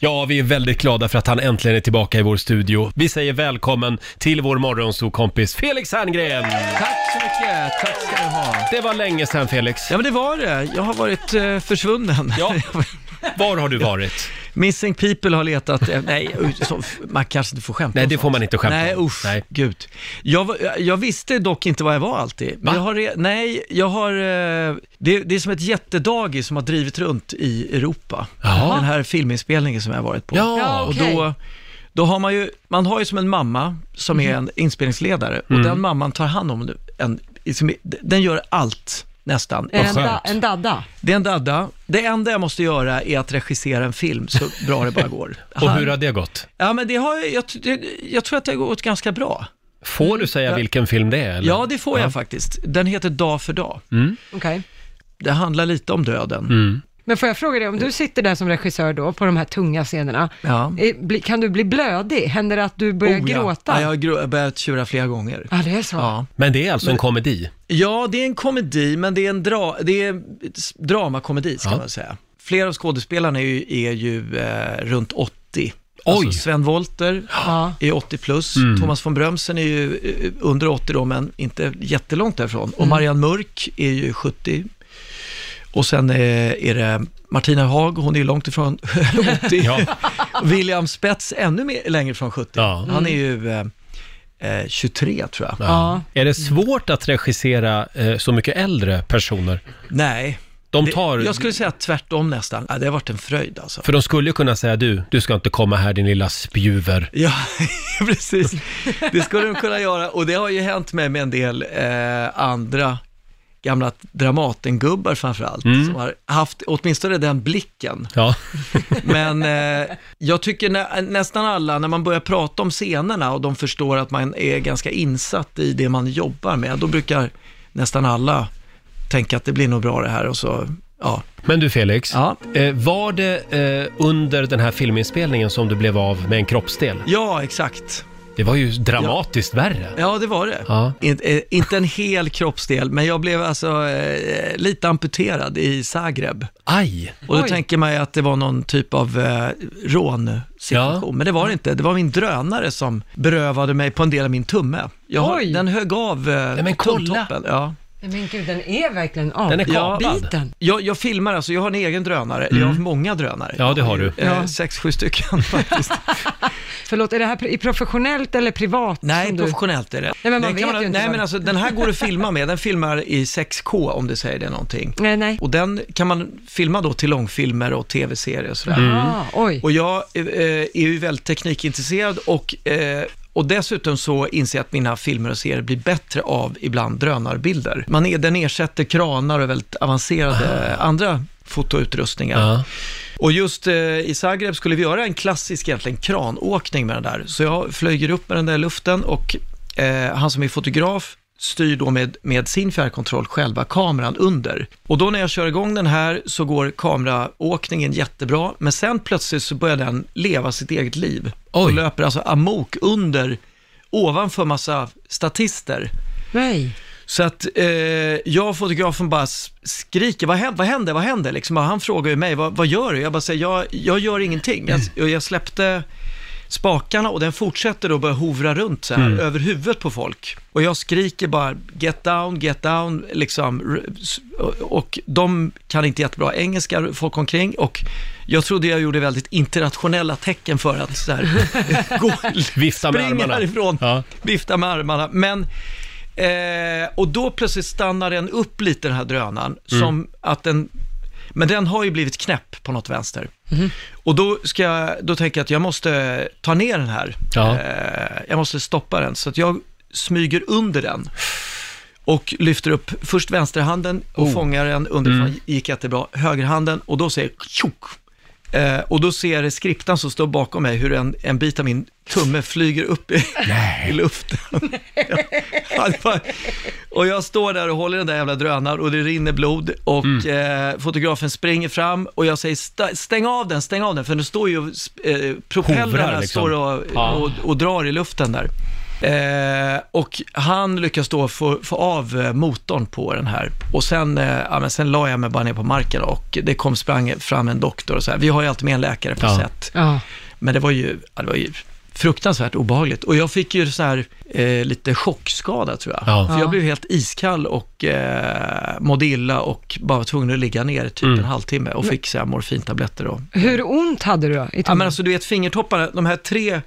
Ja, vi är väldigt glada för att han äntligen är tillbaka i vår studio. Vi säger välkommen till vår morgonsokompis Felix Herngren! Tack så mycket, tack ska du ha. Det var länge sedan Felix. Ja men det var det, jag har varit eh, försvunnen. Ja. Var har du varit? Missing people har letat, eh, nej uj, så, man kanske inte får skämta Nej, om det får sånt. man inte skämta Nej om. usch, Nej. gud. Jag, var- jag visste dock inte var jag var alltid. Va? Men jag har, re- nej, jag har, eh, det, det är som ett jättedagis som har drivit runt i Europa. Jaha. Den här filminspelningen som jag har varit på. Ja, Ja, Och Okej. då, då har man ju, man har ju som en mamma som är Mhm. en inspelningsledare Mm. och den mamman tar hand om en, liksom, den gör allt nästan. En, skönt. da, en dadda. Det är en dadda. Det enda jag måste göra är att regissera en film så bra det bara går. och hur har det gått? Ja, men det har jag, jag, det, jag tror att det har gått ganska bra. Får du säga vilken film det är? Eller? Ja, det får jag faktiskt. Den heter Dag för dag. Okej. Det handlar lite om döden. Mm. Men får jag fråga dig, om du sitter där som regissör då, på de här tunga scenerna, Ja. eh, bli- kan du bli blödig? Händer det att du börjar Oh, ja. gråta? Ja, jag har grå- jag har börjat tjura flera gånger. Ja, det är så. Ja. Men det är alltså en komedi? Ja, det är en komedi, men det är en, dra det är en s- dramakomedi, ska Ja. man säga. Flera av skådespelarna är ju, är ju eh, runt 80. Oj. Alltså Sven Wollter Ja. är 80 plus, Mm. Thomas von Brömsen är ju eh, under 80 då, men inte jättelångt därifrån. Mm. Och Marianne Mörk är ju 70. Och sen eh, är det Martina Haag, hon är ju långt ifrån 80. Ja. William Spets ännu mer, längre från 70. Ja. Han är ju eh, eh, 23 tror jag. Ja. Är det svårt att regissera eh, så mycket äldre personer? Nej, De Det- tar... Jag skulle säga tvärtom nästan. Ja, det har varit en fröjd alltså. För de skulle ju kunna säga du, du ska inte komma här din lilla spjuver. Ja, precis. Det skulle de kunna göra och det har ju hänt mig med en del eh, andra gamla Dramatengubbar framförallt, allt som har haft åtminstone den blicken. Ja, Men eh, jag tycker nä, nästan alla, när man börjar prata om scenerna och de förstår att man är ganska insatt i det man jobbar med, då brukar nästan alla tänka att det blir nog bra det här och så, ja. men du Felix. ja. Eh, var det eh, under den här filminspelningen som du blev av med en kroppsdel? Ja, exakt. Det var ju dramatiskt värre. Ja, det var det. Ja. In, eh, inte en hel kroppsdel, men jag blev alltså eh, lite amputerad i Zagreb. Aj! Och då Oj. tänker man ju att det var någon typ av eh, rånsituation, Ja. men det var det inte. Det var min drönare som berövade mig på en del av min tumme. Jag har, Oj. den hög av eh, Nej, men kolla. tumtoppen. Ja. Nej, Men gud, den är verkligen av. Den är Ja. kapad. Biten. Jag, jag filmar alltså, jag har en egen drönare, jag har många drönare. Ja, det har du. Eh, Mm. Ja. Sex, sju stycken faktiskt. Förlåt, är det här pri- i professionellt eller privat? Nej, som du... professionellt är det. men man Den vet kan ju inte nej, vad- men alltså den här går att filma med, den filmar i 6K om det säger det någonting. Nej, nej. Och den kan man filma då till långfilmer och tv-serier och sådär. Ah, oj. Och jag eh, är ju väldigt teknikintresserad och, eh, och dessutom så inser jag att mina filmer och serier blir bättre av ibland drönarbilder. Man är, den ersätter kranar och väldigt avancerade andra fotoutrustningar. Ja. Och just eh, i Zagreb skulle vi göra en klassisk egentligen kranåkning med den där. Så jag flyger upp med den där i luften och eh, han som är fotograf styr då med, med sin fjärrkontroll själva kameran under. Och då när jag kör igång den här så går kameraåkningen jättebra, men sen plötsligt så börjar den leva sitt eget liv. Oj. Och löper alltså amok under, ovanför massa statister. Nej. Så att eh, jag och fotografen bara s- skriker, vad händer, vad händer, vad händer? Liksom, och han frågar ju mig, vad, vad gör du? Jag bara säger, jag, jag gör ingenting. Jag, och jag släppte spakarna och den fortsätter då börja hovra runt så här över huvudet på folk. Och jag skriker bara, get down, get down, liksom. r- s- och- Och de kan inte jättebra engelska, folk omkring. Och jag trodde jag gjorde väldigt internationella tecken för att så här, gå, Vifta med spring armarna. härifrån Ja. vifta med armarna. Men, eh, och då plötsligt stannar den upp lite den här drönaren, som att den, men den har ju blivit knäpp på något vänster. Och då, ska jag, då tänker jag att jag måste ta ner den här. Ja. Eh, jag måste stoppa den, så att jag smyger under den. Och lyfter upp först vänsterhanden och Oh. fångar den underifrån, Mm. gick jättebra. Högerhanden och då säger tjock. Eh, och då ser jag skriptan som står bakom mig hur en, en bit av min tumme flyger upp i, i luften. Ja, det var- och jag står där och håller den där jävla drönaren och det rinner blod och Mm. eh, fotografen springer fram och jag säger "Sta- stäng av den, stäng av den, för den står ju, och sp- eh, propellrarna Hovrar liksom. står och, Ja. och, och drar i luften där. Eh, och han lyckas då få, få av eh, motorn på den här. Och sen, eh, ja, men sen la jag mig bara ner på marken och det kom sprang fram en doktor och så här. Vi har ju alltid med en läkare på Ja. sätt. Ja. Men det var ju, ja, det var ju fruktansvärt obehagligt. Och jag fick ju så här eh, lite chockskada tror jag. Ja. För Ja. jag blev helt iskall och eh, mådde illa och bara var tvungen att ligga ner typ Mm. en halvtimme och fick så här morfintabletter och Hur ont hade du då? I Ja, men tummen? alltså du vet fingertopparna, de här tre,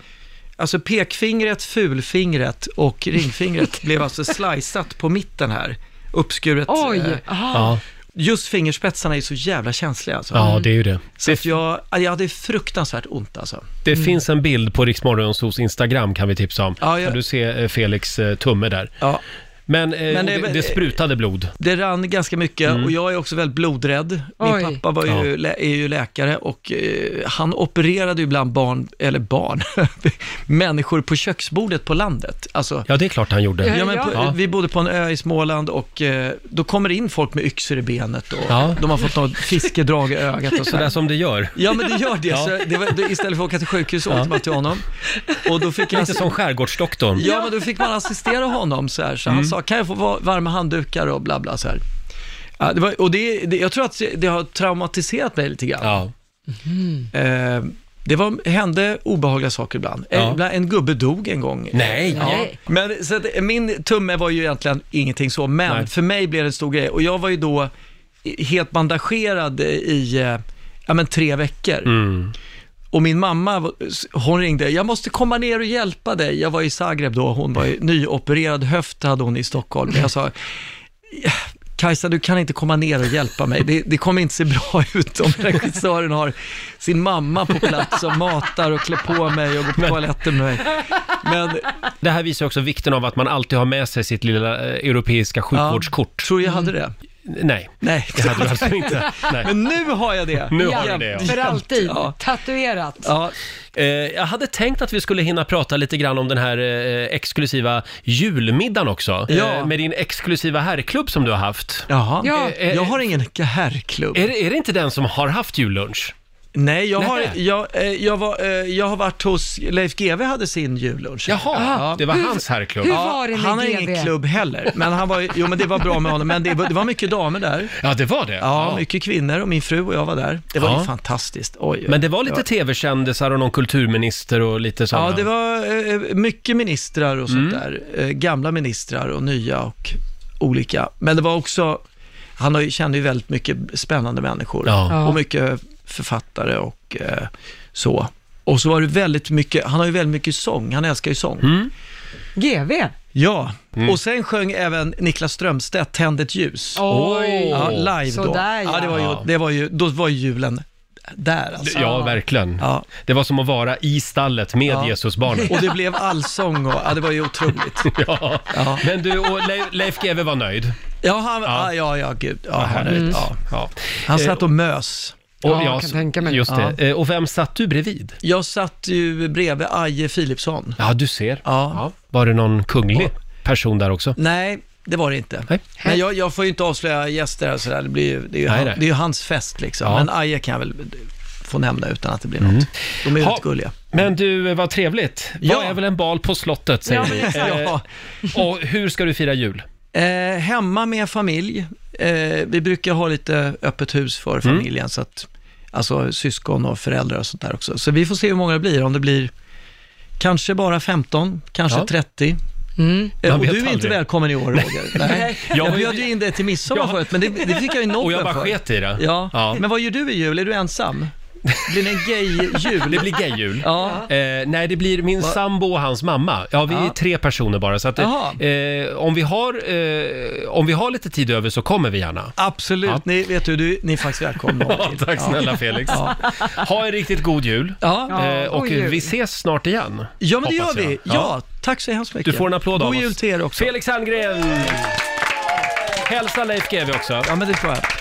alltså pekfingret, fulfingret och ringfingret blev alltså sliceat på mitten här. Uppskuret. eh, Oj! Ah. Aha. Ja, Just fingerspetsarna är så jävla känsliga alltså. ja det är ju det. Så Det, att jag, jag hade fruktansvärt ont alltså. det finns en bild på Riksmorgonsos Instagram kan vi tipsa om. Ja, ja. Kan du se eh, Felix eh, tumme där. Ja, Men, eh, Men det- det, det sprutade blod. det rann ganska mycket Mm. och jag är också väldigt blodrädd. Min Oj. pappa var ju, lä, är ju läkare och eh, han opererade ju ibland barn, eller barn, människor på köksbordet på landet. Alltså, Ja, det är klart han gjorde. Ja, men Ja. på, Ja. Vi bodde på en ö i Småland och eh, då kommer det in folk med yxor i benet och Ja. de har fått något fiskedrag i ögat och Sådär sådär. som det gör. Ja men det gör det, Ja. så det var, det, istället för att åka till sjukhus åkte man till honom. Och då fick jag, Lite som skärgårdsdoktorn. ja men då fick man assistera honom så här, så Mm. han sa kan jag få va- varma handdukar och bla bla så här. Ja, det var, och det, det, jag tror att det har traumatiserat mig lite grann. Ja. Eh, det var, hände obehagliga saker ibland. Eh, Ja. ibland- En gubbe dog en gång. Nej! Ja. Nej. Men, så att, eh, min tumme var ju egentligen ingenting så, men Nej. för mig blev det en stor grej. Och jag var ju då i- helt bandagerad i eh, ja, men tre veckor. Mm. Och min mamma, var- s- hon ringde, jag måste komma ner och hjälpa dig. Jag var i Zagreb då, hon var ju nyopererad höft hade hon i Stockholm. Men jag sa, Kajsa, du kan inte komma ner och hjälpa mig. Det, det kommer inte se bra ut om regissören har sin mamma på plats som matar och klär på mig och går på toaletten med mig. Men Det här visar också vikten av att man alltid har med sig sitt lilla eh, europeiska sjukvårdskort. Tror du jag hade det? Nej, Nej. det hade du alltså inte. Nej. Men nu har jag det. Nu har du Ja, det, ja. För alltid. Ja. Tatuerat. Ja, Eh, jag hade tänkt att vi skulle hinna prata lite grann om den här eh, exklusiva julmiddagen också. Ja. Eh, med din exklusiva herrklubb som du har haft. jaha. Ja. Eh, eh, Jag har ingen herrklubb. Är, det- är det inte den som har haft jullunch? Nej, jag har, Nej. jag, eh, jag, var, eh, jag har varit hos, Leif GW hade sin jullunch. Jaha, Ja. det var hans herrklubb. hur- Ja. var det med han har GV? ingen klubb heller, men han var, jo men det var bra med honom, men det, var- det var mycket damer där. Ja, det var det. Ja, Ja. mycket kvinnor och min fru och jag var där. Det var Ja. ju fantastiskt. Oj, oj. Men det var lite Ja. tv-kändisar och någon kulturminister och lite sådana. Ja, det var eh, mycket ministrar och sånt där. Eh, gamla ministrar och nya och olika. Men det var också, han har ju, kände ju väldigt mycket spännande människor. Ja. Ja. Och mycket författare och eh, så. Och så var det väldigt mycket, han har ju väldigt mycket sång, han älskar ju sång. Mm. GV. Ja, och sen sjöng även Niklas Strömstedt Tänd ett ljus. Oj. Ja, live då. Sådär, ja. ja. det var ju, det var ju, då var ju julen där alltså. Ja, verkligen. Ja. Det var som att vara i stallet med Ja. Jesusbarnet. Och det blev allsång och, ja det var ju otroligt. Ja. Ja. Men du, och Le- Leif GW var nöjd. Ja, han, Ja. ja. ja, ja, gud. Ja, han, härligt. är- ja. Ja. han Eh, satt och mös. Och, Mm. Ja, jag kan s- tänka mig det. Just det. Eh, Och vem satt du bredvid? Jag satt ju bredvid Aje Philipsson. Ja, du ser. Ja. Var det någon kunglig person där också? Nej, det var det inte. Nej. Men jag, jag får ju inte avslöja gäster och sådär. Det, blir ju, det, är ju Nej, han, nej. det är ju hans fest liksom. Ja. Mm. Men Aje kan jag väl få nämna utan att det blir något. De är ju Ha. rätt gulliga. Men du, eh, vad trevligt. Vad Ja. är väl en bal på slottet, säger Ja, vi. Ja. Eh, och hur ska du fira jul? Eh, hemma med familj. Eh, vi brukar ha lite öppet hus för Mm. familjen, så att, alltså syskon och föräldrar och sånt där också. Så vi får se hur många det blir, om det blir kanske bara 15, kanske Ja. 30. Mm. Eh, Man och du är vet inte aldrig. välkommen i år, Roger. Nej. Jag Jag, var ju- bjöd ju in dig till midsommar Ja. förut, men det, det fick jag ju nobben Och jag bara för. sket i det. Ja. Ja. Men vad gör du i jul? Är du ensam? Blir det en Det gay-jul? blir gay-jul. Ja. Eh, nej, det blir min sambo och hans mamma. Ja, vi är Ja. tre personer bara, så att eh, Jaha. eh, om, vi har, eh, om vi har lite tid över så kommer vi gärna. Absolut, Ja. ni, vet du, du, ni är faktiskt välkomna. Ja, tack snälla Felix. Ha en riktigt god jul. Ja. Ja, Eh, och god jul. vi ses snart igen. ja, men det gör hoppas jag. vi. Ja. Ja. tack så hemskt mycket. Du får en applåd God av oss. jul till er också. Felix Herngren! Hälsa Leif GW också. Ja, men det tror jag.